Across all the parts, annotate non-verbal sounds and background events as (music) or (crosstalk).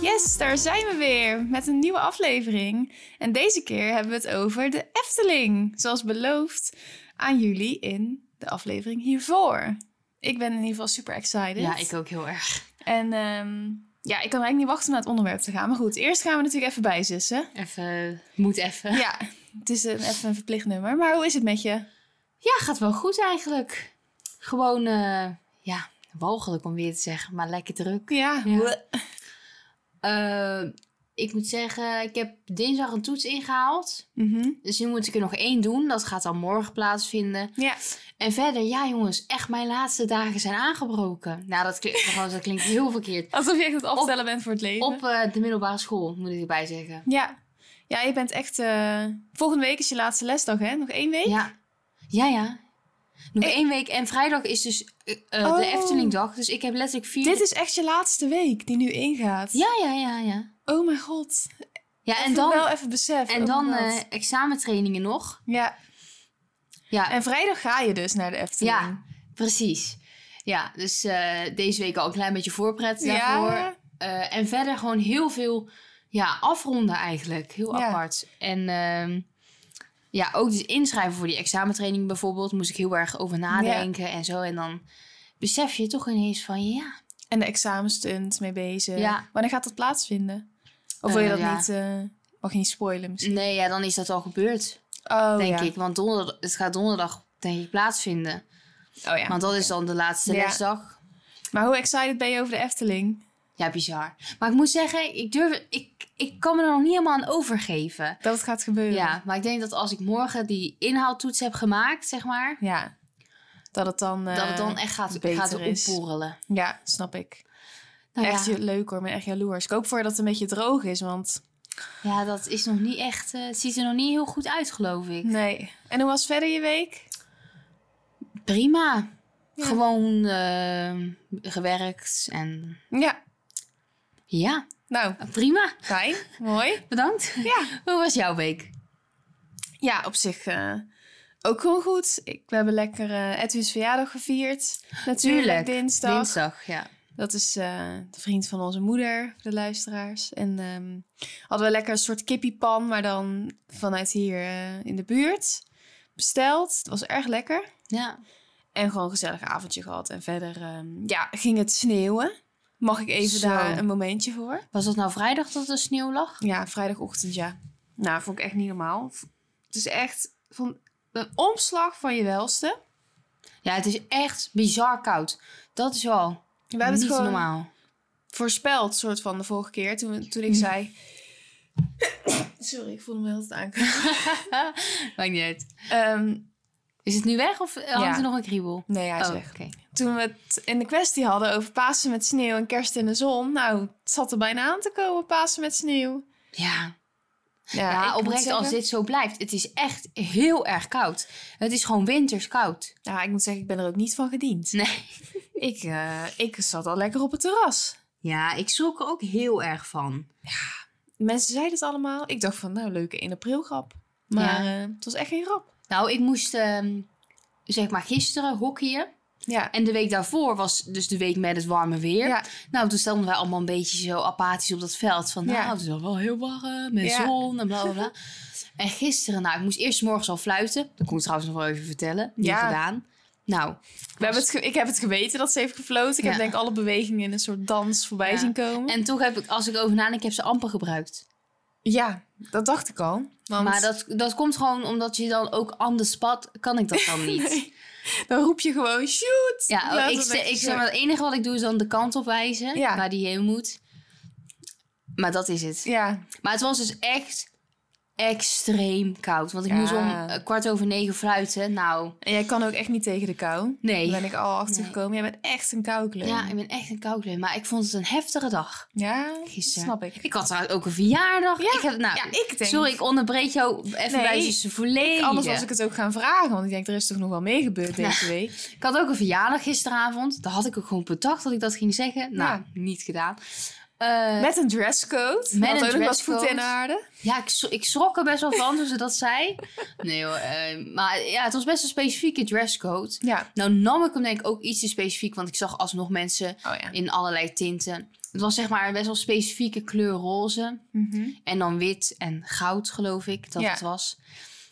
Yes, daar zijn we weer met een nieuwe aflevering. En deze keer hebben we het over de Efteling, zoals beloofd aan jullie in de aflevering hiervoor. Ik ben in ieder geval super excited. Ja, ik ook heel erg. En ehm, ja, ik kan eigenlijk niet wachten om naar het onderwerp te gaan. Maar goed, eerst gaan we natuurlijk even bijzussen. Even, moet even. Ja, het is een, even een verplicht nummer. Maar hoe is het met je? Ja, gaat wel goed eigenlijk. Gewoon, eh, ja, walgelijk om weer te zeggen, maar lekker druk. Ja, Ja. Eh, ik moet zeggen, ik heb dinsdag een toets ingehaald. Mhm. Dus nu moet ik er nog één doen. Dat gaat dan morgen plaatsvinden. ja. En verder, ja jongens, echt mijn laatste dagen zijn aangebroken. Nou, dat klinkt, (laughs) trouwens, dat klinkt heel verkeerd. alsof je echt het afstellen bent voor het leven. Op eh, de middelbare school, moet ik erbij zeggen. Ja. ja, je bent echt... eh, Volgende week is je laatste lesdag, hè? Nog één week? Ja, ja, ja. Nog Ik- één week en vrijdag is dus eh, eh, Oh. de Eftelingdag. Dus ik heb letterlijk vier... Dit is echt je laatste week die nu ingaat. Ja, ja, ja, ja. Oh mijn god. Ja, en Even wel dan, even besef. en oh dan my god. eh, examentrainingen nog. ja. Ja, En vrijdag ga je dus naar de Efteling. Ja, precies. Ja, dus eh, deze week al een klein beetje voorpret Ja. daarvoor. Eh, en verder gewoon heel veel ja, afronden eigenlijk. Heel Ja. apart. En ehm, ja, ook dus inschrijven voor die examentraining bijvoorbeeld. Moest ik heel erg over nadenken en zo. En dan besef je toch ineens van ja. En de examenstunt mee bezig. Ja. Wanneer gaat dat plaatsvinden? Of wil je Eh, dat ja. niet... eh, mag je niet spoilen misschien? Nee, ja, dan is dat al gebeurd, Oh Mm, denk ja. ik. Want donderdag, het gaat donderdag, denk ik, plaatsvinden. Oh ja. Want dat is dan de laatste Ja. lesdag. Maar hoe excited ben je over de Efteling? Ja, bizar. Maar ik moet zeggen, ik durf... Ik, ik kan me er nog niet helemaal aan overgeven. Dat het gaat gebeuren. Ja, maar ik denk dat als ik morgen die inhoudtoets heb gemaakt, zeg maar... Ja. Dat het dan... eh, dat het dan echt gaat, beter gaat is. opborrelen. Ja, snap ik. Nou echt ja, je- leuk hoor, ik ben echt jaloers. Ik hoop voor je dat het een beetje droog is, want... ja, dat is nog niet echt... eh, het ziet er nog niet heel goed uit, geloof ik. Nee. En hoe was verder je week? Prima. Ja. Gewoon eh, gewerkt en... Ja. Ja, Nou, prima. (laughs) fijn. Mooi. Bedankt. Ja. (laughs) Hoe was jouw week? Ja, op zich eh, ook gewoon goed. Ik, we hebben lekker eh Edwin's verjaardag gevierd. Natuurlijk, Tuurlijk, dinsdag. Dinsdag, ja. Dat is eh, de vriend van onze moeder, voor de luisteraars. En ehm, hadden we lekker een soort kippiepan, maar dan vanuit hier eh, in de buurt besteld. Het was erg lekker. Ja. En gewoon een gezellig avondje gehad. En verder ehm, ja, ging het sneeuwen. Mag ik even Zo. daar een momentje voor? Was dat nou vrijdag dat er sneeuw lag? Ja, vrijdagochtend, ja. Nou, vond ik echt niet normaal. V- Het is echt van een omslag van je welste. Ja, het is echt bizar koud. Dat is wel We hebben niet het gewoon normaal. voorspeld, soort van de vorige keer. Toen, toen ik zei. (coughs) Sorry, ik voelde me heel het aankomen. Maakt niet uit. Ehm, Is het nu weg of eh, hangt er nog een kriebel? nee, hij is Oh, weg. oké. Toen we het in de kwestie hadden over Pasen met sneeuw en kerst in de zon. Nou, het zat er bijna aan te komen, Pasen met sneeuw. Ja, Ja, ja, ik moet oprecht als zeggen- dit zo blijft. Het is echt heel erg koud. Het is gewoon winters koud. Ja, Nou, ik moet zeggen, ik ben er ook niet van gediend. Nee. (laughs) Ik, eh, ik zat al lekker op het terras. Ja, ik schrok er ook heel erg van. Mensen zeiden het allemaal. Ik dacht van, nou, leuke 1 april grap. Maar eh, het was echt geen grap. Nou, ik moest ehm, zeg maar gisteren hockeyen. Ja. En de week daarvoor was dus de week met het warme weer. Ja. Nou, toen stonden wij allemaal een beetje zo apathisch op dat veld. Van, Ja. nou, het is al wel heel warm met Ja. zon en bla, bla, bla. en gisteren, nou, ik moest eerst 's morgens al fluiten. Dat kon ik trouwens nog wel even vertellen. Niet Ja. gedaan. Nou, We hebben het ge- ik heb het geweten dat ze heeft gefloten. Ik Ja. heb denk ik alle bewegingen in een soort dans voorbij Ja. zien komen. en toch heb ik, als ik over nadenk, ik heb ze amper gebruikt. ja, dat dacht ik al. Want Maar dat, dat komt gewoon omdat je dan ook aan de spat, kan ik dat (laughs) dan niet. Nee. dan roep je gewoon, shoot! Ja, Laat ik, het ze- met je ik zeg zo- maar, het enige wat ik doe is dan de kant op wijzen Ja. waar die heen moet. Maar dat is het. Ja, Maar het was dus echt, extreem koud. Want ik Ja. moest om eh, kwart over negen fluiten. Nou, En jij kan ook echt niet tegen de kou. nee. Daar ben ik al achter Nee. gekomen. Jij bent echt een koukleun. Ja, ik ben echt een koukleun. Maar ik vond het een heftige dag. Ja, dat Gisteren. snap ik. Ik had trouwens ook een verjaardag. Ja, ik heb, nou, ja, ik denk- Sorry, ik onderbreek jou even Nee, bij ze volledig. Anders was ik het ook gaan vragen, want ik denk, er is toch nog wel meer gebeurd Ja. deze week. Ik had ook een verjaardag gisteravond. Daar had ik ook gewoon bedacht dat ik dat ging zeggen. Nou, Ja. niet gedaan. Eh, Met een dresscode. Met Met een een ook nog wat dresscode. voeten in de aarde. Ja, ik, s- ik schrok er best wel van toen ze dat zei. Nee hoor, eh, maar ja, het was best een specifieke dresscode. Ja. Nou nam ik hem denk ik ook iets te specifiek, want ik zag alsnog mensen Oh ja. in allerlei tinten. Het was zeg maar een best wel specifieke kleur roze. Mhm. En dan wit en goud geloof ik dat Ja. het was.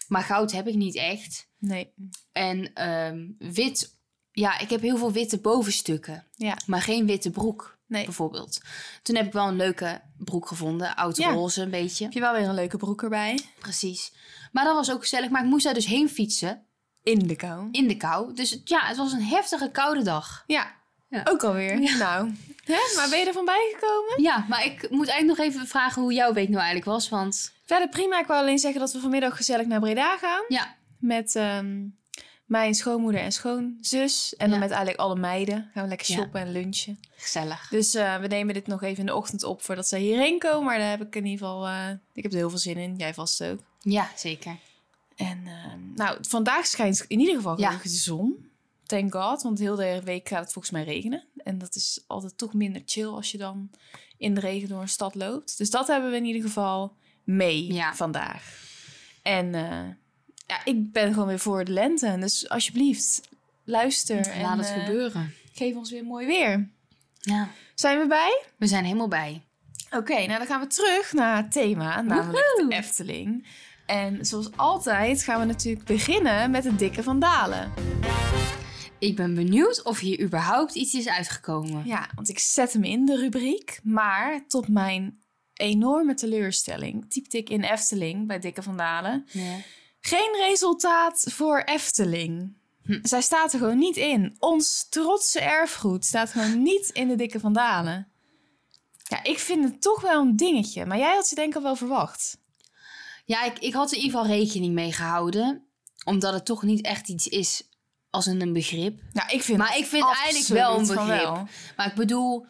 Maar goud heb ik niet echt. Nee. En ehm, wit, ja, ik heb heel veel witte bovenstukken. Ja. Maar geen witte broek Nee. bijvoorbeeld. Toen heb ik wel een leuke broek gevonden. Oud Ja. roze een beetje. Heb je wel weer een leuke broek erbij? Precies. Maar dat was ook gezellig. Maar ik moest daar dus heen fietsen In de kou. in de kou. Dus het- ja, het was een heftige koude dag. Ja. Ja. Ook alweer. Nou. Hè? Maar ben je er van bijgekomen? Ja, maar ik moet eigenlijk nog even vragen hoe jouw week nou eigenlijk was. Want Verder prima. Ik wou alleen zeggen dat we vanmiddag gezellig naar Breda gaan. ja, Met ehm, mijn schoonmoeder en schoonzus. En dan Ja. met eigenlijk alle meiden. Gaan we lekker Ja. shoppen en lunchen. gezellig. Dus eh, we nemen dit nog even in de ochtend op voordat zij hierheen komen. Maar daar heb ik in ieder geval... eh, ik heb er heel veel zin in. Jij vast ook. Ja, zeker. En ehm, nou, vandaag schijnt in ieder geval Ja. gelukkig de zon. Thank god, want heel de hele week gaat het volgens mij regenen. En dat is altijd toch minder chill als je dan in de regen door een stad loopt. Dus dat hebben we in ieder geval mee Ja. vandaag. En eh, ja, ik ben gewoon weer voor de lente. Dus alsjeblieft, luister en Laat het eh, gebeuren. geef ons weer mooi weer. Ja, Zijn we bij? we zijn helemaal bij. Oké, nou dan gaan we terug naar het thema, namelijk de Woehoe. Efteling. En zoals altijd gaan we natuurlijk beginnen met de dikke van Dalen. Ik ben benieuwd of hier überhaupt iets is uitgekomen. Ja, want ik zet hem in de rubriek. Maar tot mijn enorme teleurstelling typte ik in Efteling bij Dikke van Dalen. Ja. Geen resultaat voor Efteling. Hm. Zij staat er gewoon niet in. Ons trotse erfgoed staat gewoon niet in de Dikke van Dalen. Ja, ik vind het toch wel een dingetje. Maar jij had ze denk ik al wel verwacht. Ja, ik, ik had er in ieder geval rekening mee gehouden. Omdat het toch niet echt iets is als een een begrip. Nou, ik vind Maar ik vind eigenlijk wel een absoluut van begrip. Maar ik bedoel,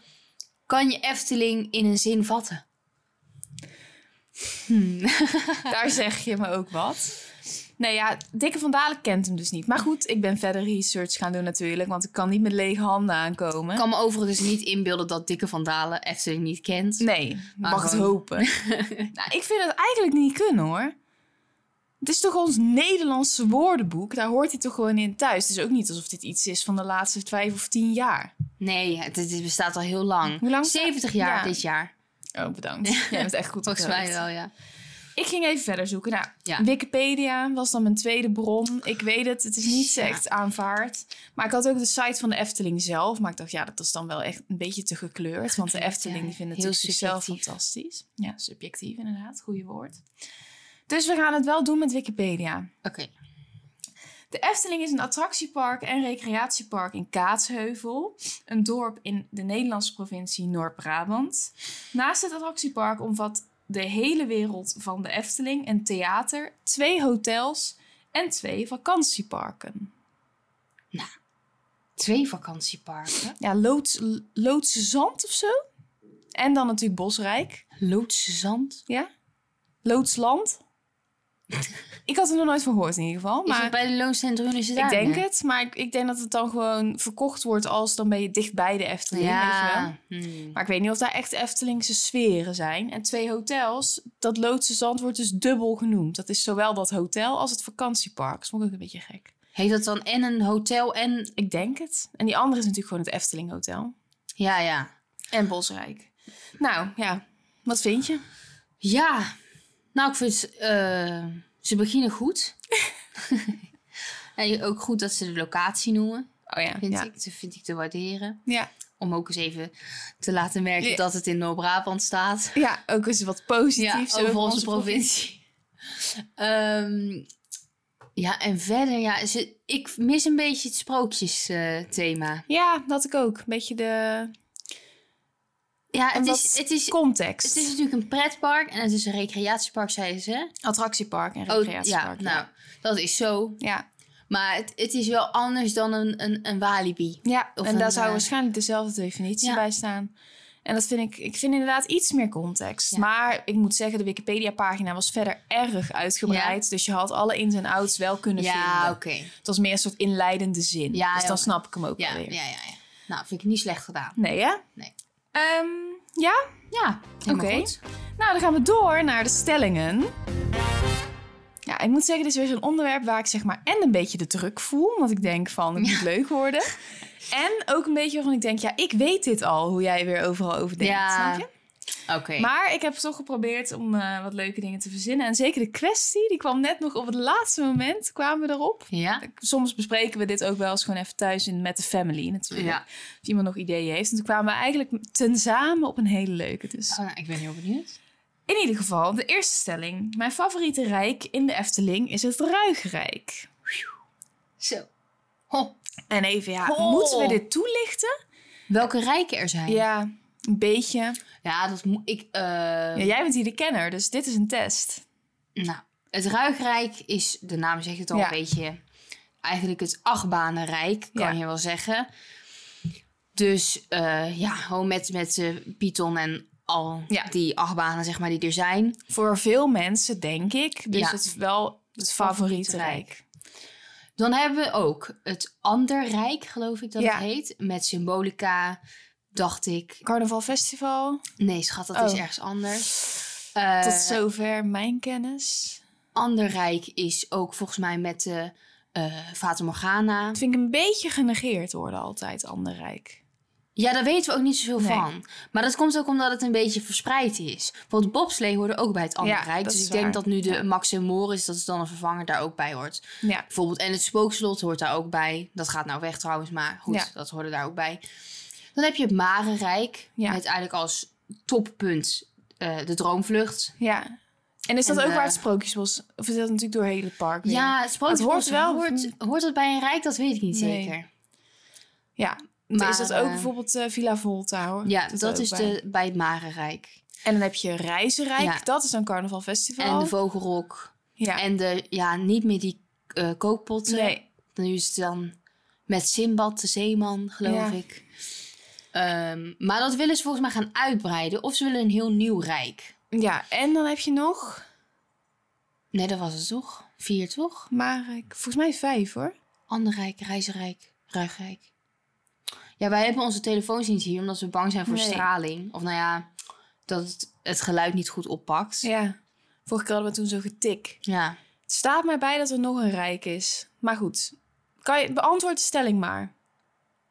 kan je Efteling in een zin vatten? Hmm. (laughs) Daar zeg je me ook wat. Nee, ja, Dikke van Dalen kent hem dus niet. Maar goed, ik ben verder research gaan doen natuurlijk. Want ik kan niet met lege handen aankomen. Ik kan me overigens niet inbeelden dat Dikke van Dalen Efteling niet kent. Nee, Maar mag het gewoon- (laughs) hopen. nou, ik vind het eigenlijk niet kunnen hoor. Het is toch ons Nederlandse woordenboek. Daar hoort hij toch gewoon in thuis. Het is ook niet alsof dit iets is van de laatste vijf of tien jaar. Nee, het, het bestaat al heel lang. Hoe lang? 70 jaar Ja. dit jaar. Oh, (laughs) bedankt. Jij bent echt goed op Volgens de mij hoogte. wel, ja. Ik ging even verder zoeken. Nou, Ja. Wikipedia was dan mijn tweede bron. Ik weet het, het is niet Ja. echt aanvaard. Maar ik had ook de site van de Efteling zelf. Maar ik dacht, ja, dat is dan wel echt een beetje te gekleurd. Want de Gekleurd, Efteling ja. die vindt Heel natuurlijk zichzelf subjectief. fantastisch. Ja, subjectief inderdaad. Goeie woord. Dus we gaan het wel doen met Wikipedia. Oké. De Efteling is een attractiepark en recreatiepark in Kaatsheuvel, een dorp in de Nederlandse provincie Noord-Brabant. Naast het attractiepark omvat de hele wereld van de Efteling een theater, twee hotels en twee vakantieparken. Twee vakantieparken. Ja, Loods, Loodse Zand of zo? En dan natuurlijk Bosrijk. Loodse zand. Ja? Loodsland? Ik had er nog nooit van gehoord in ieder geval. Maar... Maar... bij de Loonscentrum is het Ik denk het, maar ik, ik denk dat het dan gewoon verkocht wordt als dan ben je dicht bij de Efteling. Weet je wel. Ja. Hmm. Maar ik weet niet of daar echt Eftelingse sferen zijn. En twee hotels, dat Loodse Zand wordt dus dubbel genoemd. Dat is zowel dat hotel als het vakantiepark. Dat vond ik ook een beetje gek. Heeft dat dan en een hotel en... Ik denk het. En die andere is natuurlijk gewoon het Efteling Hotel. Ja, ja. En Bosrijk. Nou ja, wat vind je? Ja, nou, ik vind eh, ze beginnen (laughs) goed. en ook goed dat ze de locatie noemen, Oh ja, vind ja. ik. Dat vind ik te waarderen. Ja. Om ook eens even te laten merken Ja. dat het in Noord-Brabant staat. ja, ook eens wat positiefs over onze provincie. (laughs) Ehm, ja, en verder, ja, ze, ik mis een beetje het sprookjesthema. Ja, dat ik ook. Een beetje de Ja, het Omdat is, het, is, context. het is natuurlijk een pretpark en het is een recreatiepark, zeiden ze. Attractiepark en Oh, recreatiepark. ja, nou, dat is zo. ja. Maar het, het is wel anders dan een, een, een Walibi. Ja, Of en een, daar zou eh, waarschijnlijk dezelfde definitie ja. bij staan. En dat vind ik, ik vind inderdaad iets meer context. Ja. Maar ik moet zeggen, de Wikipedia-pagina was verder erg uitgebreid. Dus je had alle ins en outs wel kunnen Ja, vinden. oké. Het was meer een soort inleidende zin. Ja, dus dan ja. snap ik hem ook Ja, wel ja, weer. ja, ja. Nou, vind ik niet slecht gedaan. Nee, hè? Nee. Ehm, ja? Ja, helemaal Oké. goed. Nou, dan gaan we door naar de stellingen. Ja, ik moet zeggen, dit is weer zo'n onderwerp waar ik zeg maar en een beetje de druk voel. Want ik denk van, het moet leuk worden. En ook een beetje waarvan ik denk, ja, ik weet dit al, hoe jij weer overal over denkt. Ja. Snap je? Oké. Maar ik heb toch geprobeerd om eh, wat leuke dingen te verzinnen. En zeker de kwestie, die kwam net nog op het laatste moment, kwamen we erop. Ja? Soms bespreken we dit ook wel eens gewoon even thuis in, met de family natuurlijk. Of iemand nog ideeën heeft. En toen kwamen we eigenlijk tenzamen op een hele leuke. Dus. Oh, nou, ik ben heel benieuwd. In ieder geval, de eerste stelling. Mijn favoriete rijk in de Efteling is het Ruigrijk. Zo. Ho, En even, ja, Oh. moeten we dit toelichten? welke rijken er zijn? Ja, een beetje. Ja, dat moet ik. eh, Ja, jij bent hier de kenner, dus dit is een test. Nou, het Ruigrijk is, de naam zegt het al Ja. een beetje, eigenlijk het achtbanenrijk, kan Ja. je wel zeggen. Dus eh, ja, gewoon met, met eh, Python en al Ja. die achtbanen, zeg maar, die er zijn. Voor veel mensen, denk ik, dus Ja. het is wel het favoriete favoriete rijk. Dan hebben we ook het Anderrijk, geloof ik dat Ja. het heet. Met symbolica, dacht ik. Carnaval Festival. Nee, schat, dat is Oh. ergens anders. Eh, Tot zover mijn kennis. Anderrijk is ook volgens mij met de eh Fata Morgana. Dat vind ik een beetje genegeerd worden altijd, ander rijk. Ja, daar weten we ook niet zoveel Nee. van. Maar dat komt ook omdat het een beetje verspreid is. Want bobslee hoorde ook bij het andere Ja, rijk. dat Dus is ik denk waar. dat nu de Ja. Max en Morris, dat is dan een vervanger, daar ook bij hoort. Ja. Bijvoorbeeld, en het spookslot hoort daar ook bij. Dat gaat nou weg trouwens, maar goed, Ja. dat hoorde daar ook bij. Dan heb je het Marenrijk. Ja. Met eigenlijk als toppunt eh, de droomvlucht. ja. En is dat En, ook waar eh, het Sprookjesbos... Of is dat natuurlijk door het hele park weer? Ja, het spookslot hoort hoort, wel- hoort, dat bij een rijk? Dat weet ik niet Nee. zeker. Ja, Maar is dat ook eh, bijvoorbeeld eh, Villa Volta, hoor. Ja, Doet dat, ook is bij. de, bij het Marenrijk. En dan heb je Reizenrijk. Ja. Dat is een carnaval festival. En de Vogelrok. ja. En eh, de, ja, niet meer die eh, kookpotten. nee. Nu is het dan met Simbad, de zeeman, geloof Ja. ik. Ehm, maar dat willen ze volgens mij gaan uitbreiden. Of ze willen een heel nieuw rijk. Ja, en dan heb je nog... Nee, dat was het toch? Vier, toch? Maar ik- volgens mij vijf, hoor. Ander rijk, reizenrijk, ruigrijk. Ja, wij hebben onze telefoons niet hier, omdat we bang zijn voor Nee. straling. Of nou ja, dat het, het geluid niet goed oppakt. Ja. Ja. Vorige keer hadden we toen zo'n getik. Het staat mij bij dat er nog een rijk is. Maar goed, kan je, beantwoord de stelling maar.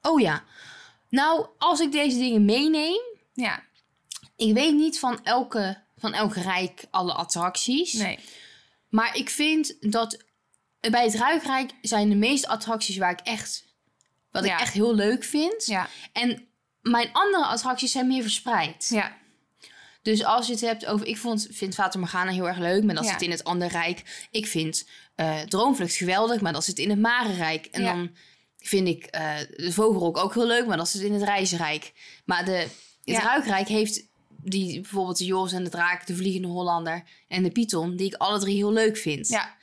Oh ja. Nou, als ik deze dingen meeneem, Ja, Ik weet niet van elke, van elk rijk alle attracties. nee. Maar ik vind dat bij het Ruigrijk zijn de meeste attracties waar ik echt... Wat Ja. ik echt heel leuk vind. Ja, En mijn andere attracties zijn meer verspreid. ja, Dus als je het hebt over... Ik vond, vind Fata Morgana heel erg leuk, maar dat Ja. zit in het andere rijk. Ik vind eh, Droomvlucht geweldig, maar dat zit in het Marenrijk. En Ja. dan vind ik eh, de Vogelrok ook heel leuk, maar dat zit in het Reizenrijk. Maar de, het Ja. Ruigrijk heeft die, bijvoorbeeld de Joris en de Draak, de Vliegende Hollander en de Python... die ik alle drie heel leuk vind. ja,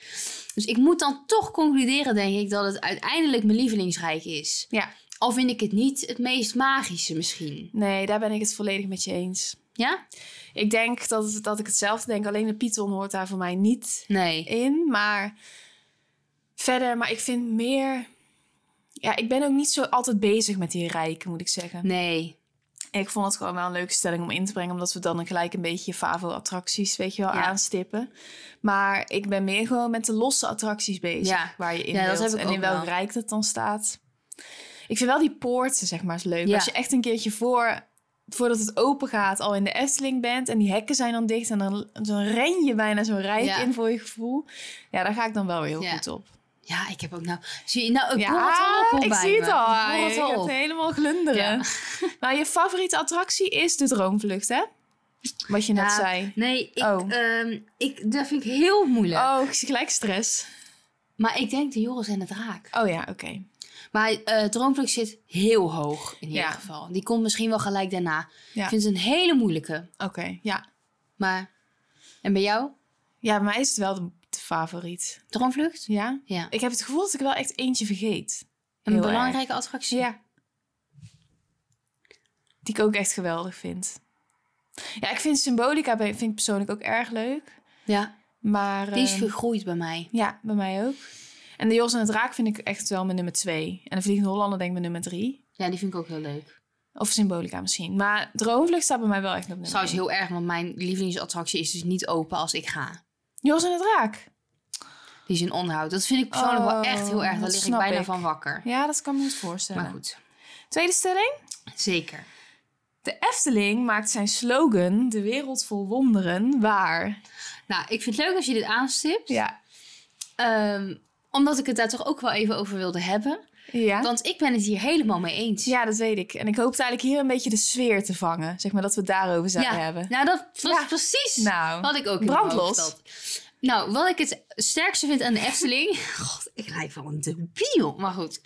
Dus ik moet dan toch concluderen, denk ik, dat het uiteindelijk mijn lievelingsrijk is. ja. Al vind ik het niet het meest magische misschien. Nee, daar ben ik het volledig met je eens. Ja? Ik denk dat, dat ik hetzelfde denk. Alleen de Python hoort daar voor mij niet Nee. in. Maar verder, maar ik vind meer... Ja, ik ben ook niet zo altijd bezig met die rijken, moet ik zeggen. Nee. Ik vond het gewoon wel een leuke stelling om in te brengen. Omdat we dan gelijk een beetje favo-attracties, weet je wel, Ja. aanstippen. Maar ik ben meer gewoon met de losse attracties bezig. Ja. Waar je in Ja, dat wilt heb ik en in ook welk wel. rijk dat dan staat. Ik vind wel die poorten, zeg maar, is leuk. Ja. Als je echt een keertje voor, voordat het open gaat al in de Efteling bent... en die hekken zijn dan dicht en dan, dan ren je bijna zo'n rijk Ja. in voor je gevoel. Ja, daar ga ik dan wel weer heel Ja. goed op. Ja, ik heb ook nou... Zie je, nou, ik ja, ja, het al op hoor, ik bij zie me. het al. Ik Je voel het al gaat op. helemaal glunderen. Ja. (laughs) Maar je favoriete attractie is de Droomvlucht, hè? Wat je net Ja. zei. Nee, ik, Oh. ehm, ik, dat vind ik heel moeilijk. Oh, ik zie gelijk stress. Maar ik denk de Joris en de Draak. Oh ja, oké. Maar Maar eh Droomvlucht zit heel hoog in ieder Ja. geval. Die komt misschien wel gelijk daarna. Ja. Ik vind het een hele moeilijke. Oké, ja. Maar, en bij jou? Ja, bij mij is het wel de, de favoriet. Droomvlucht? Ja? Ja. Ik heb het gevoel dat ik wel echt eentje vergeet. Een Heel belangrijke attractie? Ja. Die ik ook echt geweldig vind. Ja, ik vind symbolica bij- vind ik persoonlijk ook erg leuk. Ja, Maar die is eh, gegroeid bij mij. ja, bij mij ook. En de Jos en het Raak vind ik echt wel mijn nummer twee. En de Vliegende Hollander denk ik mijn nummer drie. Ja, die vind ik ook heel leuk. Of symbolica misschien. Maar Droomvlucht staat bij mij wel echt op nummer Trouwens één. heel erg, want mijn lievelingsattractie is dus niet open als ik ga. Jos en het Raak. Die is in onderhoud. Dat vind ik persoonlijk wel echt heel Oh, erg. Daar dat lig ik snap bijna ik. van wakker. Ja, dat kan ik me goed voorstellen. Maar goed, Tweede stelling. zeker. De Efteling maakt zijn slogan De wereld vol wonderen waar. Nou, ik vind het leuk als je dit aanstipt. Ja. Ehm, omdat ik het daar toch ook wel even over wilde hebben. Ja. Want ik ben het hier helemaal mee eens. ja, dat weet ik. En ik hoopte eigenlijk hier een beetje de sfeer te vangen. Zeg maar dat we het daarover zouden Ja. hebben. Nou, dat was Ja. precies Nou, wat ik ook in mijn brand hoofd los. had. Nou, wat ik het sterkste vind aan de (laughs) Efteling... God, ik lijk wel een debiel. Maar goed,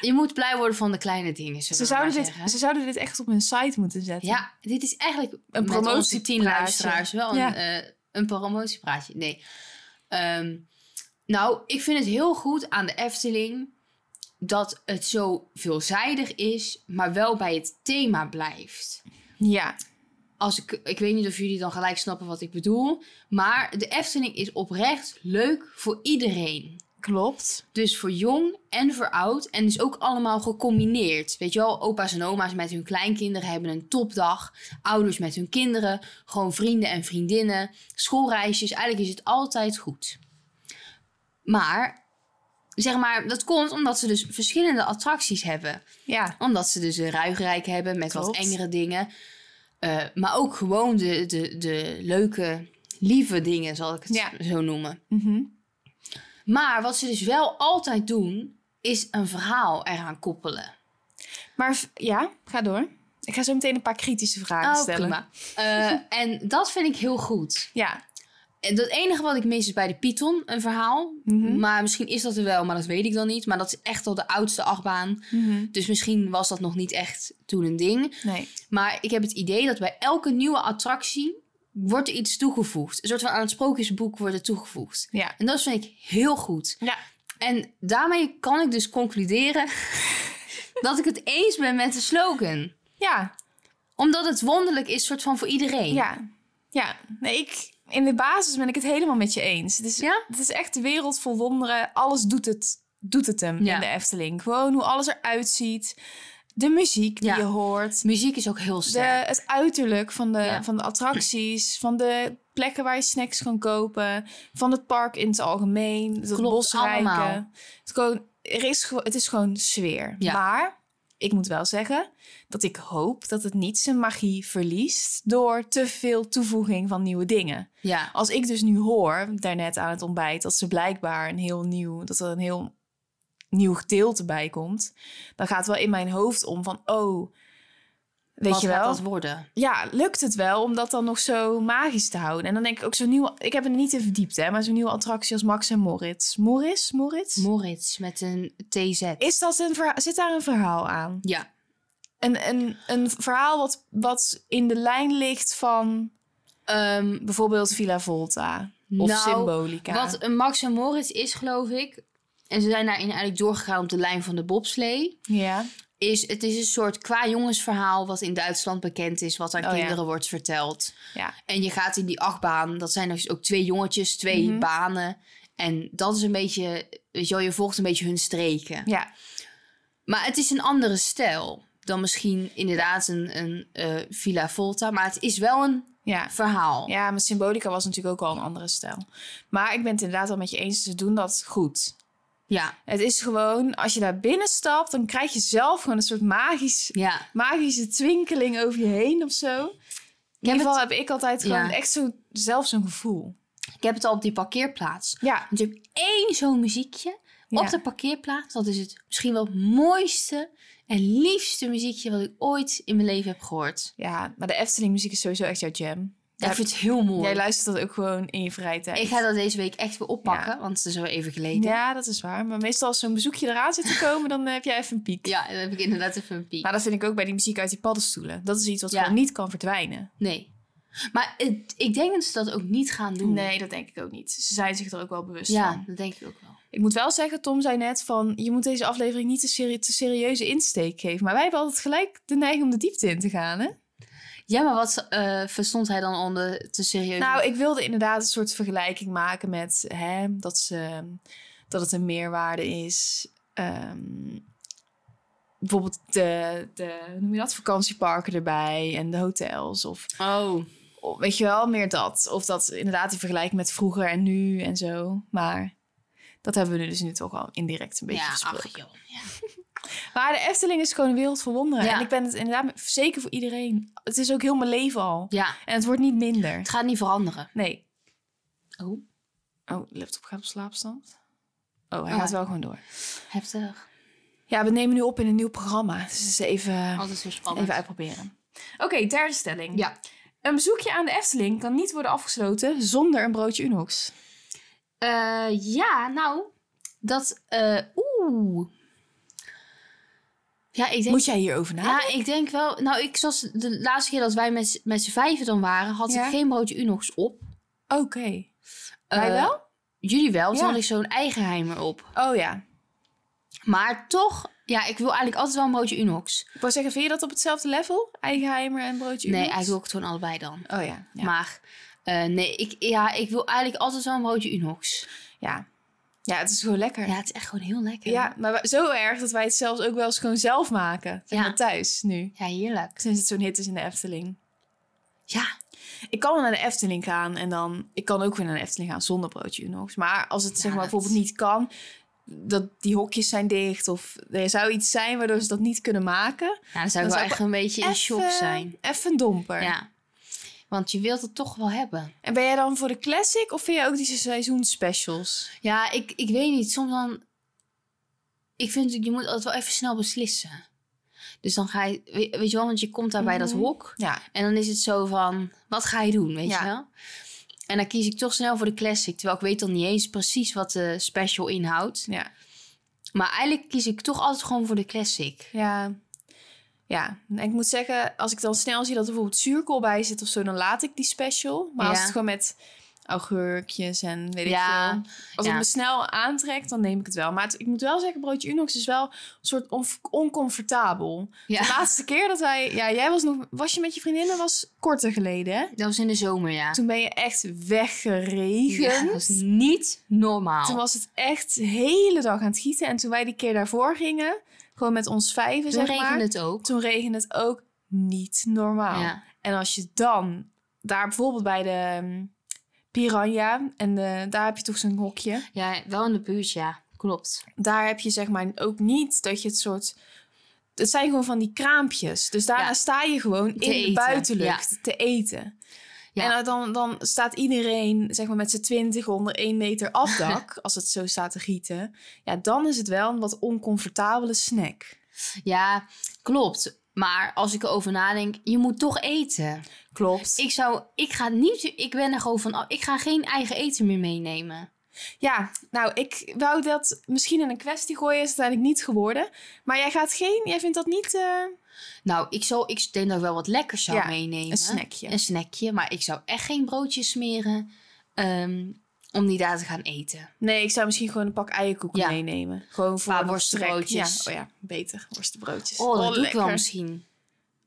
je moet blij worden van de kleine dingen. zullen ze, we maar zouden zeggen. dit, ze zouden dit echt op hun site moeten zetten. Ja, dit is eigenlijk Een met onze tien promotiepraatje. luisteraars wel een, Ja. eh, een promotiepraatje. Nee. Ehm, nou, ik vind het heel goed aan de Efteling dat het zo veelzijdig is, maar wel bij het thema blijft. Ja. Als ik, ik weet niet of jullie dan gelijk snappen wat ik bedoel, maar de Efteling is oprecht leuk voor iedereen. Klopt. Dus voor jong en voor oud. En is ook allemaal gecombineerd. Weet je wel, opa's en oma's met hun kleinkinderen hebben een topdag. Ouders met hun kinderen. Gewoon vrienden en vriendinnen. Schoolreisjes. Eigenlijk is het altijd goed. Maar, zeg maar, dat komt omdat ze dus verschillende attracties hebben. Ja. Omdat ze dus een ruigrijk hebben met wat Klopt. engere dingen. Eh, maar ook gewoon de, de, de leuke, lieve dingen, zal ik het Ja. zo noemen. Mhm. Maar wat ze dus wel altijd doen, is een verhaal eraan koppelen. Maar v- ja, ga door. Ik ga zo meteen een paar kritische vragen stellen. Oh, (laughs) Eh, en dat vind ik heel goed. Ja. En dat enige wat ik mis is bij de Python een verhaal. Mhm. Maar misschien is dat er wel, maar dat weet ik dan niet. Maar dat is echt al de oudste achtbaan. Dus misschien was dat nog niet echt toen een ding. Nee. Maar ik heb het idee dat bij elke nieuwe attractie wordt er iets toegevoegd. Een soort van aan het sprookjesboek wordt er toegevoegd. Ja. En dat vind ik heel goed. Ja. En daarmee kan ik dus (laughs) concluderen dat ik het eens ben met de slogan. Ja. Omdat het wonderlijk is, soort van voor iedereen. Ja. Ja. Nee, ik... In de basis ben ik het helemaal met je eens. Het is, Ja? het is echt de wereld vol wonderen. Alles doet het, doet het hem Ja. in de Efteling. Gewoon hoe alles eruit ziet. De muziek die Ja. je hoort. Muziek is ook heel De, sterk. het uiterlijk van de, Ja. van de attracties, van de plekken waar je snacks kan kopen, van het park in het algemeen, het Klopt, bosrijken. allemaal. Het, is gewoon, er is, gewo- het is gewoon sfeer. Ja. Maar ik moet wel zeggen dat ik hoop dat het niet zijn magie verliest door te veel toevoeging van nieuwe dingen. Ja. Als ik dus nu hoor, daarnet aan het ontbijt, dat ze blijkbaar een heel nieuw, dat er een heel nieuw gedeelte bij komt, dan gaat het wel in mijn hoofd om van, oh, weet Wat je wel, gaat dat worden? ja, lukt het wel om dat dan nog zo magisch te houden? En dan denk ik ook zo'n nieuwe... Ik heb het niet in verdiept, hè, maar zo'n nieuwe attractie als Max en Moritz. Morris? Moritz? Moritz met een TZ. is dat een verhaal, zit daar een verhaal aan? Ja. Een, een, een verhaal wat, wat in de lijn ligt van Ehm, bijvoorbeeld Villa Volta of nou, Symbolica. wat een Max en Moritz is, geloof ik. En ze zijn daarin eigenlijk doorgegaan op de lijn van de bobslee. Ja, Is, het is een soort qua jongensverhaal wat in Duitsland bekend is, wat aan Oh ja. kinderen wordt verteld. ja. En je gaat in die achtbaan, dat zijn dus ook twee jongetjes, twee Mhm. banen. En dat is een beetje, weet je wel, je volgt een beetje hun streken. ja. Maar het is een andere stijl dan misschien inderdaad een, een eh, Villa Volta. Maar het is wel een ja. verhaal. Ja, maar Symbolica was natuurlijk ook al een andere stijl. Maar ik ben het inderdaad al met je eens, ze doen dat goed. Ja, Het is gewoon, als je daar binnen stapt, dan krijg je zelf gewoon een soort magisch ja. magische twinkeling over je heen of zo. In ieder geval heb ik altijd gewoon Ja. echt zo, zelf zo'n gevoel. Ik heb het al op die parkeerplaats. Ja. Want je hebt één zo'n muziekje op de parkeerplaats. Dat is het misschien wel het mooiste en liefste muziekje wat ik ooit in mijn leven heb gehoord. ja, maar de Efteling muziek is sowieso echt jouw jam. ik vind het heel mooi. Jij luistert dat ook gewoon in je vrije tijd. Ik ga dat deze week echt weer oppakken, want het is al even geleden. Ja. Ja, dat is waar. Maar meestal als zo'n bezoekje eraan zit (laughs) te komen, dan eh, heb jij even een piek. dan heb ik inderdaad even een piek. Maar dat vind ik ook bij die muziek uit die paddenstoelen. Dat is iets wat Ja. gewoon niet kan verdwijnen. Nee. Maar het- ik denk dat ze dat ook niet gaan doen. Nee, dat denk ik ook niet. Ze zijn zich er ook wel bewust Ja, van. dat denk ik ook wel. Ik moet wel zeggen, Tom zei net van... je moet deze aflevering niet te, serie- te serieuze insteek geven. Maar wij hebben altijd gelijk de neiging om de diepte in te gaan, hè? Ja, maar wat eh, verstond hij dan onder te serieus? Nou, ik wilde inderdaad een soort vergelijking maken met hè, dat, ze, dat het een meerwaarde is. Ehm, bijvoorbeeld de, de, hoe noem je dat, vakantieparken erbij en de hotels. Of, oh. of weet je wel, meer dat. Of dat inderdaad die vergelijking met vroeger en nu en zo. Maar dat hebben we nu dus nu toch al indirect een beetje ja, besproken. ach joh. Ja. Maar de Efteling is gewoon een wereld vol wonderen. Ja. En ik ben het inderdaad met- zeker voor iedereen. Het is ook heel mijn leven al. ja, En het wordt niet minder. het gaat niet veranderen. Nee, Oh, Oh, de laptop gaat op slaapstand. Oh, hij Oh. gaat wel gewoon door. heftig. Ja, we nemen nu op in een nieuw programma. Dus het is even, Altijd zo spannend. even uitproberen. Oké, derde stelling. Ja. Een bezoekje aan de Efteling kan niet worden afgesloten zonder een broodje Unox. Eh, ja, nou, dat... eh, Oeh. Ja, ik denk... Moet jij hierover na? Ja, ik denk wel. Nou, ik zoals de laatste keer dat wij met, z'n- met z'n vijven dan waren, had Ja. ik geen broodje Unox op. Oké. Wij Eh, wel? Jullie wel, toen Ja. had ik zo'n eigenheimer op. Oh ja. Maar toch, ja, ik wil eigenlijk altijd wel een broodje Unox. Ik wou zeggen, vind je dat op hetzelfde level? Eigenheimer en broodje Nee, Unox? eigenlijk wil ik het gewoon allebei dan. Oh ja. Ja. Maar eh, nee, ik, ja, ik wil eigenlijk altijd wel een broodje Unox. ja. Ja, het is gewoon lekker. Ja, het is echt gewoon heel lekker. Ja, maar we- zo erg dat wij het zelfs ook wel eens gewoon zelf maken. Zeg Ja. maar thuis nu. Ja, heerlijk. Sinds het zo'n hit is in de Efteling. Ja, Ik kan wel naar de Efteling gaan en dan... Ik kan ook weer naar de Efteling gaan zonder broodje Unox. Maar als het zeg maar dat- bijvoorbeeld niet kan... Dat die hokjes zijn dicht of er zou iets zijn waardoor ze dat niet kunnen maken. ja Dan dan zou ik zou wel ik echt een beetje in shock zijn. Even een domper. Ja. Want je wilt het toch wel hebben. En ben jij dan voor de classic of vind je ook die seizoensspecials? Ja, ik, ik weet niet. Soms dan... Ik vind, je moet altijd wel even snel beslissen. Dus dan ga je... Weet, weet je wel, want je komt daar bij dat Mhm. hok. Ja. En dan is het zo van... Wat ga je doen, weet Ja. je wel? En dan kies ik toch snel voor de classic. Terwijl ik weet dan niet eens precies wat de special inhoudt. Ja. Maar eigenlijk kies ik toch altijd gewoon voor de classic. Ja. Ja, en ik moet zeggen, als ik dan snel zie dat er bijvoorbeeld zuurkool bij zit of zo, dan laat ik die special. Maar als Ja. het gewoon met augurkjes en weet ik Ja, veel. Als ja. het me snel aantrekt, dan neem ik het wel. Maar het- ik moet wel zeggen, broodje Unox is wel een soort on- oncomfortabel. De Ja. laatste keer dat wij... Ja, jij was nog... Was je met je vriendinnen? was korter geleden, hè? Dat was in de zomer, ja. Toen ben je echt Ja, weggeregend. dat was niet normaal. Toen was het echt de hele dag aan het gieten. En toen wij die keer daarvoor gingen, gewoon met ons vijven, Toen zeg maar. regende het ook. Toen regende het ook niet normaal. Ja. En als je dan daar bijvoorbeeld bij de ehm, Piranha, en de- daar heb je toch zo'n hokje. ja, wel in de buurt, ja. Klopt. Daar heb je zeg maar ook niet dat je het soort. Het zijn gewoon van die kraampjes. Dus daarna Ja. sta je gewoon in de eten, buitenlucht te eten. Ja. En dan, dan staat iedereen zeg maar, met z'n twintig onder één meter (laughs) afdak. als het zo staat te gieten. Ja, dan is het wel een wat oncomfortabele snack. Ja, klopt. Maar als ik erover nadenk, je moet toch eten. Klopt. Ik zou, ik ga niet, ik ben er gewoon van, af- ik ga geen eigen eten meer meenemen. Ja, nou, ik wou dat misschien in een kwestie gooien, is het uiteindelijk niet geworden. Maar jij gaat geen, jij vindt dat niet eh, Nou, ik, zou, ik denk dat ik wel wat lekkers zou Ja, meenemen. een snackje. Een snackje, maar ik zou echt geen broodjes smeren ehm, om die daar te gaan eten. Nee, ik zou misschien gewoon een pak eierkoeken Ja. meenemen. Gewoon voor Qua een worstenbroodjes. trek. Ja, oh ja, beter, worstenbroodjes. Oh, dat doe ik wel lekker. misschien.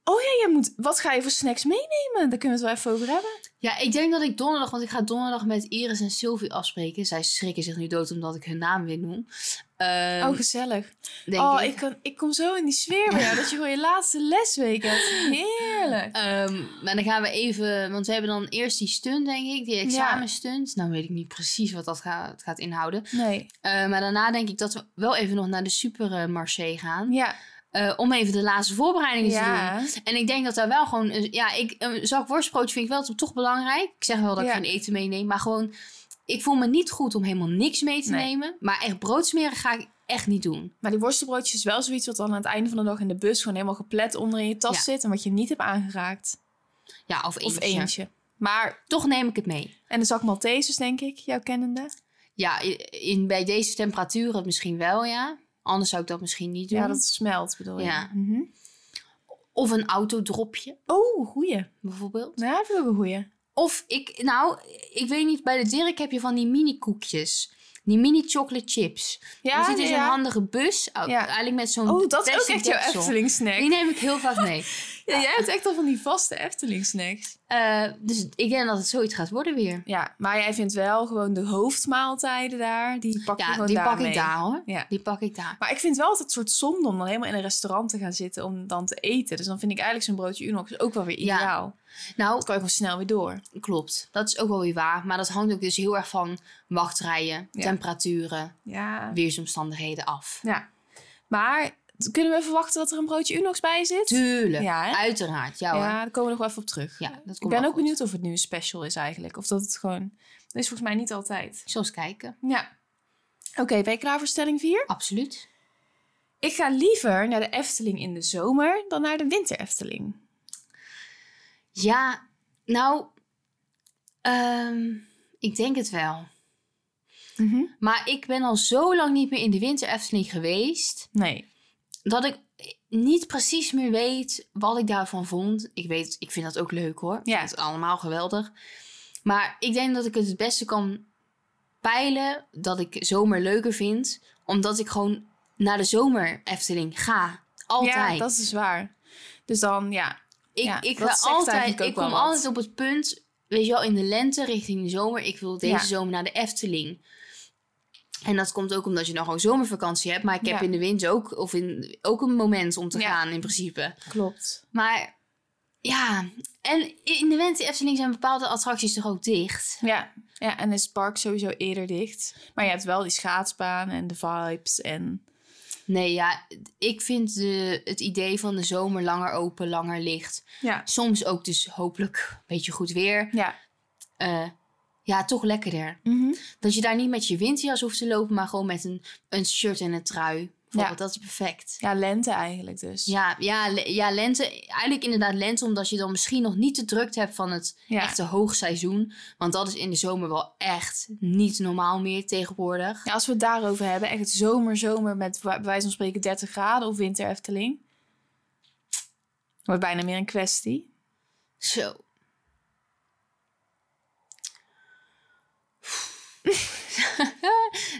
Oh ja, jij moet, wat ga je voor snacks meenemen? Daar kunnen we het wel even over hebben. Ja, ik denk dat ik donderdag, want ik ga donderdag met Iris en Sylvie afspreken. Zij schrikken zich nu dood omdat ik hun naam weer noem. Ehm, oh, gezellig. denk Oh, ik. ik, kan, ik kom zo in die sfeer bij jou, dat je gewoon je laatste lesweek hebt. Heerlijk. Ehm, maar dan gaan we even, want we hebben dan eerst die stunt, denk ik, die examenstunt. Nou weet ik niet precies wat dat gaat, gaat inhouden. Nee. Eh, maar daarna denk ik dat we wel even nog naar de supermarché gaan. Ja. eh, om even de laatste voorbereidingen te Ja. doen. En ik denk dat daar wel gewoon, een- ja, ik, een zak worstbroodje vind ik wel toch belangrijk. Ik zeg wel dat Ja. ik geen eten meeneem, maar gewoon, ik voel me niet goed om helemaal niks mee te Nee. nemen. Maar echt broodsmeren ga ik echt niet doen. Maar die worstenbroodjes is wel zoiets wat dan aan het einde van de dag in de bus gewoon helemaal geplet onder in je tas Ja. zit en wat je niet hebt aangeraakt. Ja, of Of eentje. eentje. Maar, Toch neem ik het mee. en de zak Maltesers, denk ik, jouw kennende. Ja, i- in, bij deze temperaturen misschien wel, ja. Anders zou ik dat misschien niet doen. Ja, dat smelt, bedoel je. Ja. Mhm. Of een autodropje, Oh, goeie. bijvoorbeeld. Ja, vind ik ook een goeie. Of ik, nou, ik weet niet, bij de Dirk heb je van die mini-koekjes. Die mini-chocolate chips. Ja, er zit dus ja. een handige bus, oh, Ja. eigenlijk met zo'n Oh, dat is ook plastic echt jouw deksel. Efteling-snack. Die neem ik heel vaak (laughs) mee. Ja, jij hebt echt al van die vaste Efteling-snacks. Eh, dus ik denk dat het zoiets gaat worden weer. Ja, maar jij vindt wel gewoon de hoofdmaaltijden daar, die pak je ja, gewoon die daar pak mee. ik daar hoor. Ja. Die pak ik daar. Maar ik vind wel altijd een soort zonde om dan helemaal in een restaurant te gaan zitten om dan te eten. Dus dan vind ik eigenlijk zo'n broodje Unox ook wel weer Ja. ideaal. Nou, Dan kan je gewoon snel weer door. klopt. Dat is ook wel weer waar. Maar dat hangt ook dus heel erg van wachtrijen, Ja. temperaturen, Ja. weersomstandigheden af. ja. Maar t- kunnen we verwachten dat er een broodje Unox bij zit? Tuurlijk, Ja, hè? uiteraard. Ja, hoor. Ja, daar komen we nog wel even op terug. Ja, dat komt ik wel ben ook goed. benieuwd of het nu een special is eigenlijk. Of dat het gewoon... Dat is volgens mij niet altijd. Ik zal eens kijken. Ja. Oké, ben je klaar voor stelling 4? Absoluut. Ik ga liever naar de Efteling in de zomer dan naar de winter Efteling. Ja, nou, ehm, ik denk het wel. Mhm. Maar ik ben al zo lang niet meer in de winter Efteling geweest, Nee. dat ik niet precies meer weet wat ik daarvan vond. Ik weet, ik vind dat ook leuk hoor. Ja. Het is allemaal geweldig. Maar ik denk dat ik het het beste kan peilen dat ik zomer leuker vind, omdat ik gewoon naar de zomer Efteling ga. Altijd. Ja, dat is waar. Dus dan, ja. Ik, Ja, ik, dat ga zegt altijd, eigenlijk ook ik wel kom wat. altijd op het punt, weet je wel, in de lente richting de zomer. Ik wil deze Ja. zomer naar de Efteling. En dat komt ook omdat je dan gewoon zomervakantie hebt. Maar ik heb Ja. in de winter ook, of in, ook een moment om te Ja. gaan in principe. Klopt. Maar ja, en in de winter Efteling zijn bepaalde attracties toch ook dicht. Ja. ja, en is het park sowieso eerder dicht. Maar je hebt wel die schaatsbaan en de vibes en... Nee, ja, ik vind de, het idee van de zomer langer open, langer licht. Ja. Soms ook dus hopelijk een beetje goed weer. Ja. Mhm. Eh, ja, toch lekkerder. Dat je daar niet met je winterjas hoeft te lopen, maar gewoon met een, een shirt en een trui. Bijvoorbeeld, dat is perfect. Ja, lente eigenlijk dus. Ja, ja, le- ja, lente. Eigenlijk inderdaad lente, omdat je dan misschien nog niet de drukte hebt van het Ja. echte hoogseizoen. Want dat is in de zomer wel echt niet normaal meer tegenwoordig. Ja, als we het daarover hebben, echt zomer, zomer met wa- bij wijze van spreken 30 graden of winter Efteling. Wordt bijna meer een kwestie. (laughs) Zo.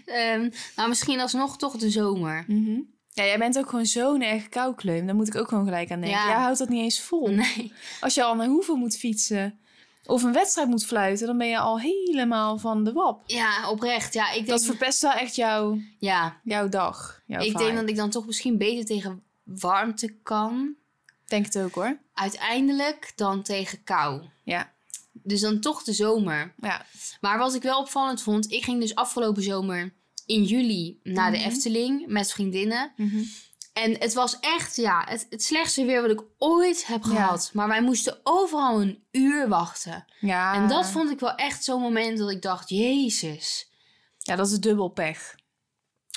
Ehm nou, misschien alsnog toch de zomer. Ja, jij bent ook gewoon zo'n erg koukleum. Daar moet ik ook gewoon gelijk aan denken. Ja. Jij houdt dat niet eens vol. Nee. Als je al naar hoeveel moet fietsen of een wedstrijd moet fluiten, dan ben je al helemaal van de wap. Ja, oprecht. Ja, ik denk, Dat verpest wel echt jouw, ja, jouw dag. Jouw ik vibe. denk dat ik dan toch misschien beter tegen warmte kan. Denk het ook hoor. Uiteindelijk dan tegen kou. Ja. Dus dan toch de zomer. Ja. Maar wat ik wel opvallend vond, ik ging dus afgelopen zomer in juli naar Mhm. de Efteling met vriendinnen. En het was echt ja, het, het slechtste weer wat ik ooit heb Ja. gehad. Maar wij moesten overal een uur wachten. ja. En dat vond ik wel echt zo'n moment dat ik dacht, jezus. Ja, dat is dubbel pech.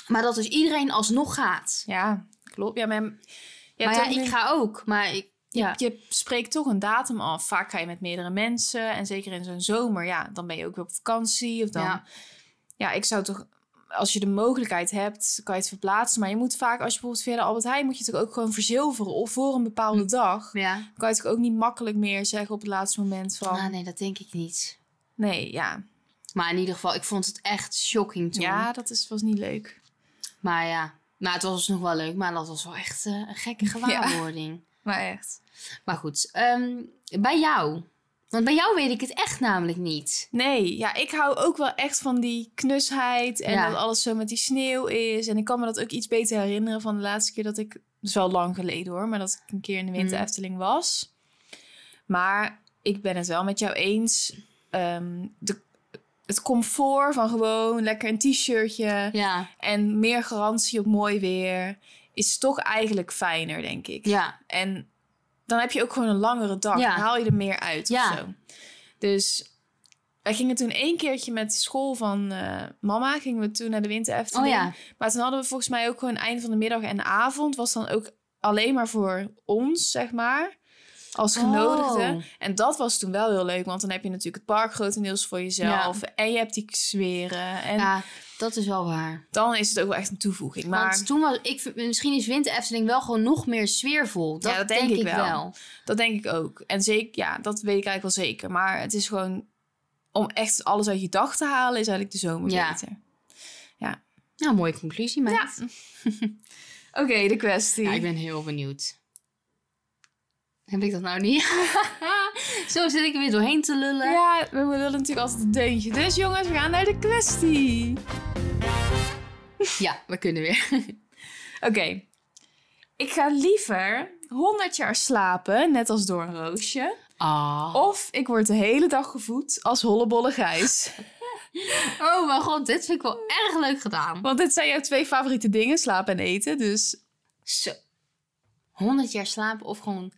Maar dat dus iedereen alsnog gaat. Ja, klopt. Ja, maar, je hebt maar ja, ook nu- ik ga ook. Maar ik, ja. Je spreekt toch een datum af. Vaak ga je met meerdere mensen. En zeker in zo'n zomer, ja, dan ben je ook weer op vakantie. Of dan, ja. Ja. ik zou toch, als je de mogelijkheid hebt, kan je het verplaatsen. Maar je moet vaak, als je bijvoorbeeld via de Albert Heijn, moet je het ook gewoon verzilveren. Of voor een bepaalde dag. ja. Dan kan je het ook niet makkelijk meer zeggen op het laatste moment van, Ah, nee, dat denk ik niet. nee, ja. Maar in ieder geval, ik vond het echt shocking toen. Ja, dat is, was niet leuk. Maar ja, maar het was nog wel leuk, maar dat was wel echt eh, een gekke gewaarwording. Maar echt. Maar goed, ehm, bij jou. Want bij jou weet ik het echt namelijk niet. Nee, ja, ik hou ook wel echt van die knusheid en Ja. dat alles zo met die sneeuw is. En ik kan me dat ook iets beter herinneren van de laatste keer dat ik, dat is wel lang geleden hoor, maar dat ik een keer in de winter Mm. Efteling was. Maar ik ben het wel met jou eens. Ehm, de, het comfort van gewoon lekker een t-shirtje Ja, en meer garantie op mooi weer is toch eigenlijk fijner, denk ik. ja, En dan heb je ook gewoon een langere dag. Ja. Dan haal je er meer uit of Ja. zo. Dus wij gingen toen één keertje met school van eh, mama... gingen we toen naar de winter Efteling. Oh ja. Maar toen hadden we volgens mij ook gewoon eind van de middag en avond... was dan ook alleen maar voor ons, zeg maar. als genodigde. Oh. En dat was toen wel heel leuk, want dan heb je natuurlijk het park grotendeels voor jezelf. En je hebt die sferen. En Ja, dat is wel waar. dan is het ook wel echt een toevoeging. Maar Want toen was ik, vind- misschien is Winter Efteling wel gewoon nog meer sfeervol. Dat, dat denk, ik, wel. dat denk ik ook. En zeker, ja, dat weet ik eigenlijk wel zeker. Maar het is gewoon, om echt alles uit je dag te halen, is eigenlijk de zomer Ja. beter. Nou, mooie conclusie, meid. Ja. (laughs) Oké, de kwestie. Ja, ik ben heel benieuwd. Heb ik dat nou niet? (laughs) Zo zit ik er weer doorheen te lullen. Ja, we willen natuurlijk altijd een deuntje. Dus jongens, we gaan naar de kwestie. Ja, we kunnen weer. Oké. Ik ga liever 100 jaar slapen, net als door een roosje. Oh. Of ik word de hele dag gevoed als hollebolle (laughs) gijs. oh mijn god, dit vind ik wel erg leuk gedaan. Want dit zijn jouw twee favoriete dingen, slapen en eten. Dus Zo. 100 jaar slapen of gewoon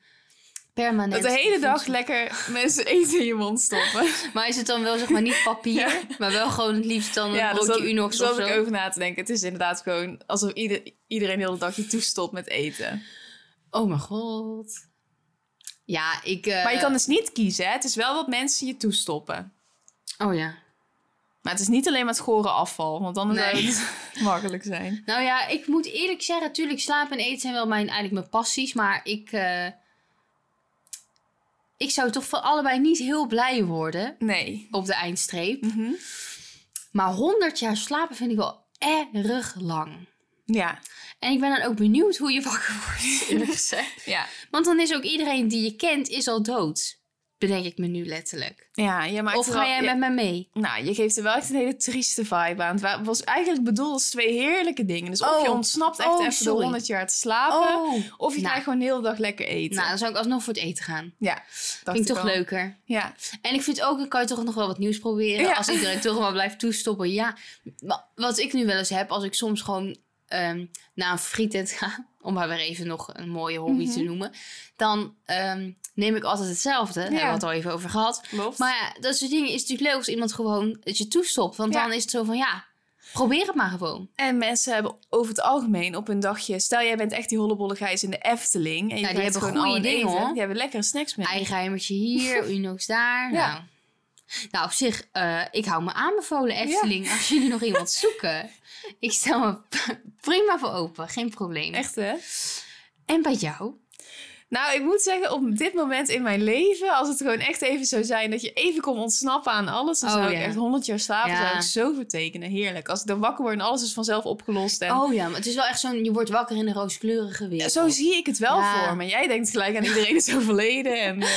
permanent. dat de hele dag voedsel. lekker mensen eten in je mond stoppen. Maar is het dan wel zeg maar (laughs) niet papier, maar wel gewoon het liefst dan een broodje dat, Unox dat of zat ik zo? over na te denken. Het is inderdaad gewoon alsof ieder, iedereen de hele dag je toestopt met eten. Oh mijn god. Ja, ik... eh, Maar je kan dus niet kiezen, hè? Het is wel wat mensen je toestoppen. Oh ja. Maar het is niet alleen maar het gore afval, want dan Nee. zou het (laughs) makkelijk zijn. Nou ja, ik moet eerlijk zeggen, natuurlijk slapen en eten zijn wel mijn, eigenlijk mijn passies, maar ik... eh, ik zou toch van allebei niet heel blij worden Nee. op de eindstreep. Maar 100 jaar slapen vind ik wel erg lang. Ja. En ik ben dan ook benieuwd hoe je wakker (laughs) wordt, eerlijk gezegd. Ja. Want dan is ook iedereen die je kent, is al dood. Bedenk ik me nu letterlijk. ja je maakt of er ga wel- jij je- met mij mee? Nou, je geeft er wel echt een hele trieste vibe aan. Het wa- was eigenlijk bedoeld als twee heerlijke dingen. Dus of Oh. je ontsnapt echt Oh, even sorry. de 100 jaar te slapen... of je Nou. krijgt gewoon de hele dag lekker eten. Nou, dan zou ik alsnog voor het eten gaan. ja, dacht Vind ik toch al. leuker. Ja. En ik vind ook, dan kan je toch nog wel wat nieuws proberen. Ja. Als iedereen toch maar blijft toestoppen. Ja, Wa- wat ik nu wel eens heb, als ik soms gewoon ehm naar een frietent ga... (laughs) om maar weer even nog een mooie hobby te Mhm. noemen... dan ehm, neem ik altijd hetzelfde. Daar hebben we het al even over gehad. Klopt. Maar ja, dat soort dingen is natuurlijk leuk als iemand gewoon het je toestopt. Want Ja. dan is het zo van, ja, probeer het maar gewoon. En mensen hebben over het algemeen op hun dagje... Stel, jij bent echt die hollebolle gijs in de Efteling. En je Ja, die krijgt hebben gewoon goede al een dingen, eten. hoor. Die hebben lekkere snacks mee. Eigeheimertje (laughs) hier, Unox daar. Ja. Nou. nou, op zich, eh, ik hou me aanbevolen, Efteling. Als jullie nog (laughs) iemand zoeken. Ik stel me (laughs) p- prima voor open, geen probleem. Echt, hè? En bij jou? Nou, ik moet zeggen, op dit moment in mijn leven... als het gewoon echt even zou zijn dat je even kon ontsnappen aan alles... dan Oh, zou ja. ik echt 100 jaar slapen, Ja. zou ik zo vertekenen. Heerlijk. Als ik dan wakker word en alles is vanzelf opgelost. En... Oh ja, maar het is wel echt zo'n, je wordt wakker in een rooskleurige wereld. Zo zie ik het wel Ja. voor me. Jij denkt gelijk aan iedereen is overleden. En, (laughs) eh,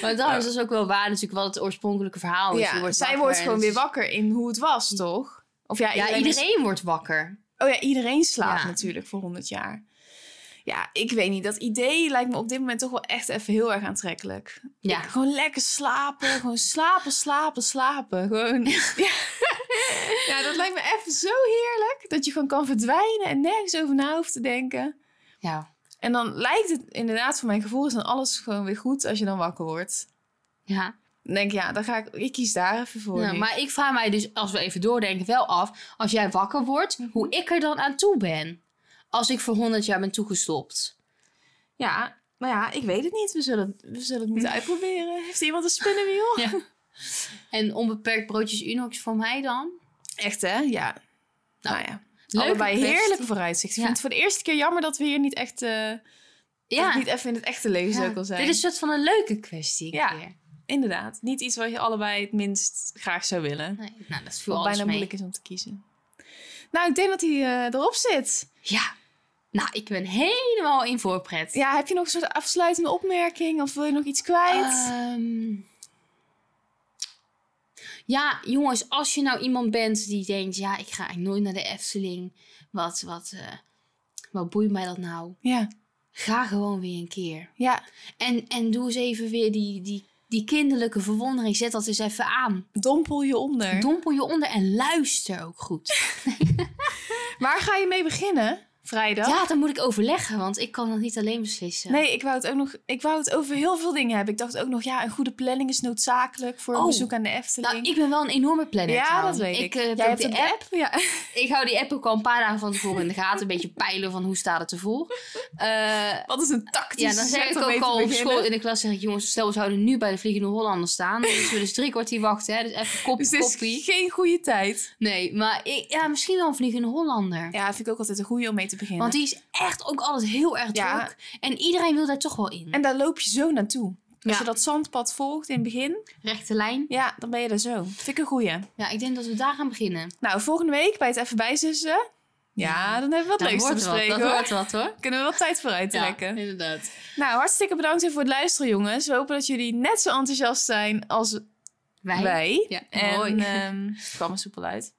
Maar dan is dat ook wel waar natuurlijk wat het oorspronkelijke verhaal is. ja, Oh, Je wordt zij wakker wordt en gewoon het weer is- wakker in hoe het was, toch? Of ja, Ja, is- iedereen wordt wakker. Oh ja, iedereen slaapt Ja. natuurlijk voor 100 jaar. Ja, ik weet niet. Dat idee lijkt me op dit moment toch wel echt even heel erg aantrekkelijk. Ja. Ik- gewoon lekker slapen. Gewoon slapen, slapen, slapen. Gewoon. (laughs) ja. ja, dat lijkt me even zo heerlijk. Dat je gewoon kan verdwijnen en nergens over na hoeft te denken. Ja. En dan lijkt het inderdaad, voor mijn gevoel, is dan alles gewoon weer goed als je dan wakker wordt. Ja. Dan denk ik, ja, dan ga ik, ik kies daar even voor. Ja, nu. maar ik vraag mij dus, als we even doordenken, wel af... als jij wakker wordt, Mhm. hoe ik er dan aan toe ben. Als ik voor 100 jaar ben toegestopt. ja, maar ja, ik weet het niet. We zullen, we zullen het (laughs) moeten uitproberen. Heeft iemand een spinnenwiel? En onbeperkt broodjes Unox voor mij dan? Echt hè? Ja. Nou, ja. Leuke Allebei kwestie. heerlijke vooruitzichten. Ja. Ik vind het voor de eerste keer jammer dat we hier niet echt... eh, dat het Ja, niet even in het echte leven ja. zou ik al zijn. dit is een soort van een leuke kwestie. Ja. keer. Inderdaad. Niet iets wat je allebei het minst graag zou willen. Nee, nou, dat viel Wat alles bijna mee. moeilijk is om te kiezen. Nou, ik denk dat hij eh, erop zit. Ja. Nou, ik ben helemaal in voorpret. Ja, heb je nog een soort afsluitende opmerking? Of wil je nog iets kwijt? Ehm, ja, jongens, als je nou iemand bent die denkt... ja, ik ga eigenlijk nooit naar de Efteling. Wat, wat, eh, wat boeit mij dat nou? Ja. ga gewoon weer een keer. Ja. En, en doe eens even weer die, die, die kinderlijke verwondering. Zet dat eens even aan. Dompel je onder. Dompel je onder en luister ook goed. Waar ga je mee beginnen? vrijdag. Ja, dan moet ik overleggen, want ik kan dat niet alleen beslissen. Nee, ik wou het ook nog. Ik wou het over heel veel dingen hebben. Ik dacht ook nog, ja, een goede planning is noodzakelijk voor een Oh. bezoek aan de Efteling. Nou, ik ben wel een enorme planner. ja, trouwens. dat weet ik. eh, heb Jij ook hebt de een app. Ja. Ik hou die app ook al een paar dagen van tevoren in de gaten. Een beetje peilen van hoe staat het ervoor. Eh Wat is een tactisch ja, dan zeg zet ik om mee ook te al op beginnen. school in de klas. Zeg ik, jongens, stel we zouden nu bij de Vliegende Hollander staan. Dan moeten we dus drie kwartier wachten. Hè? Dus even (laughs) kop, Dus het koppie. is geen goede tijd. Nee, maar ik, ja, misschien wel een Vliegende Hollander. Ja, vind ik ook altijd een goede om mee te beginnen. Want die is echt ook altijd heel erg Ja. druk. En iedereen wil daar toch wel in. En daar loop je zo naartoe. Als Ja. je dat zandpad volgt in het begin, Rechte lijn. ja, dan ben je daar zo. Vind ik een goeie. Ja, ik denk dat we daar gaan beginnen. Nou, volgende week bij het Even Bijzussen. Ja, dan hebben we wat Dat leuks te wordt wat, bespreken dat hoor. wordt wat hoor. Kunnen we wat tijd vooruit trekken. Ja, inderdaad. Nou, hartstikke bedankt weer voor het luisteren jongens. We hopen dat jullie net zo enthousiast zijn als Wij. wij. Ja, En (laughs) mooi. ehm, het kwam er soepel uit.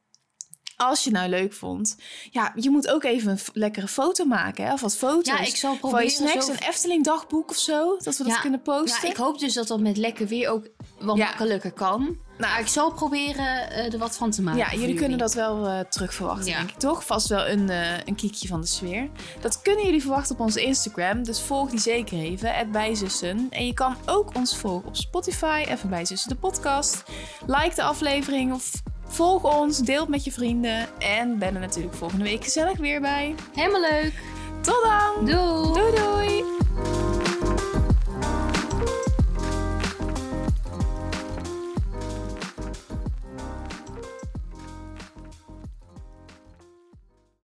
Als je het nou leuk vond. Ja, je moet ook even een f- lekkere foto maken. Hè? Of wat foto's. Ja, ik zal van je proberen snacks, zo... een Efteling dagboek of zo. Dat we dat Ja, kunnen Ja, posten. ik hoop dus dat dat met lekker weer ook wat Oh, Ja. makkelijker kan. Nou, ik zal proberen eh, er wat van te maken. Ja, voor jullie kunnen dat wel eh terugverwachten, Ja. denk ik toch? Vast wel een, eh, een kiekje van de sfeer. Dat kunnen jullie verwachten op onze Instagram, dus volg die zeker even, at Bijzussen. En je kan ook ons volgen op Spotify, even Bijzussen de podcast. Like de aflevering, of volg ons, deel het met je vrienden. En ben er natuurlijk volgende week gezellig weer bij. Helemaal leuk. Tot dan! Doei. Doei doei!